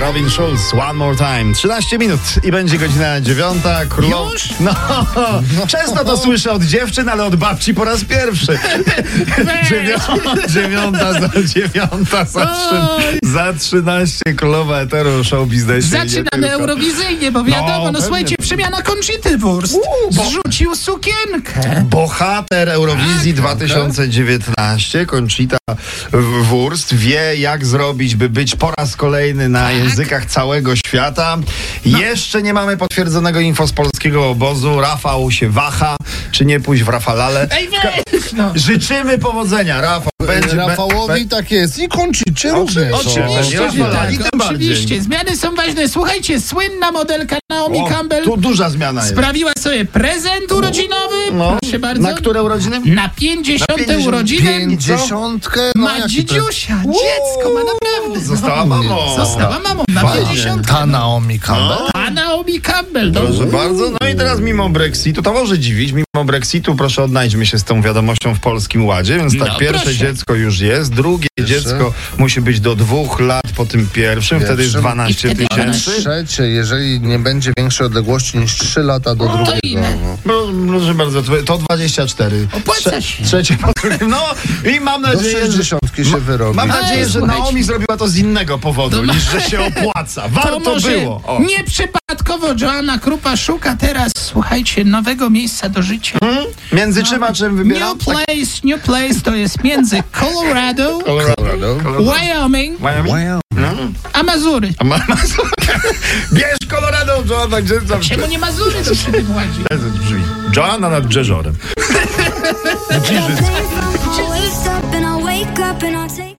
Robin Schulz, one more time. 13 minut i będzie godzina dziewiąta. Królow... Już? No, często to słyszę od dziewczyn, ale od babci po raz pierwszy. Dziewią- dziewiąta za dziewiąta za, trzy, za 13 królowa eteru show biznesie. i nie Zaczynamy tylko. Eurowizyjnie, bo wiadomo, no, pewnie. słuchajcie, przemiana Conchity Wurst Uuu, bo- zrzucił sukienkę. Bohater Eurowizji 2019, Conchita W- Wurst, wie jak zrobić, by być po raz kolejny na językach całego świata. Jeszcze nie mamy potwierdzonego info z polskiego obozu. Rafał się waha, czy nie pójść w Rafalale. Ej, weź, no. Życzymy powodzenia, Rafał. E, Będzie, Rafałowi tak jest. I kończycie również. oczy- O, będzie Oczywiście, że tak, rozwalali, tym bardziej. oczywiście. Zmiany są ważne. Słuchajcie, słynna modelka Naomi O, Campbell Tu duża zmiana jest. sprawiła sobie prezent urodzinowy, No, proszę bardzo, na które urodziny? na 50. urodziny Pięćdziesiątkę. No, ma jaki prezent? dzidziusia, dziecko, ma naprawdę. No, Została mamą. Została mamą na Fajnie. 50. Ta Naomi No, Campbell. A Naomi Campbell, no, Proszę bardzo. No i teraz mimo Brexitu, to może dziwić, mimo Brexitu proszę odnajdźmy się z tą wiadomością w Polskim Ładzie, więc tak, No, pierwsze proszę. dziecko już jest, drugie dziecko musi być do dwóch lat po tym pierwszym, wtedy jest Pierwszym. 12 I wtedy tysięcy. Trzecie, jeżeli nie będzie większej odległości niż 3 lata do drugiego. inne. No. Pro- Proszę bardzo, to- to 24. Opłaca Trze- się. Trzecie po drugim. No i mam Do nadzieję, że... 60 się wyrobi. Mam Ale nadzieję, że słuchajcie. No, Naomi zrobiła to z innego powodu, niż że się opłaca. To Warto może było. O. nieprzypadkowo Joanna Krupa szuka teraz, słuchajcie, nowego miejsca do życia. Między czym a czym wybieram? tak- New place, new place to jest między Colorado, Colorado. Wyoming, Wyoming? Wow. a Mazury. Ma- ma- Bierz Colorado, Joanna, gdzie tam Czemu nie Mazury to przy tym ładzie? Brzmi. Joanna nad Jeziorem. Reklama.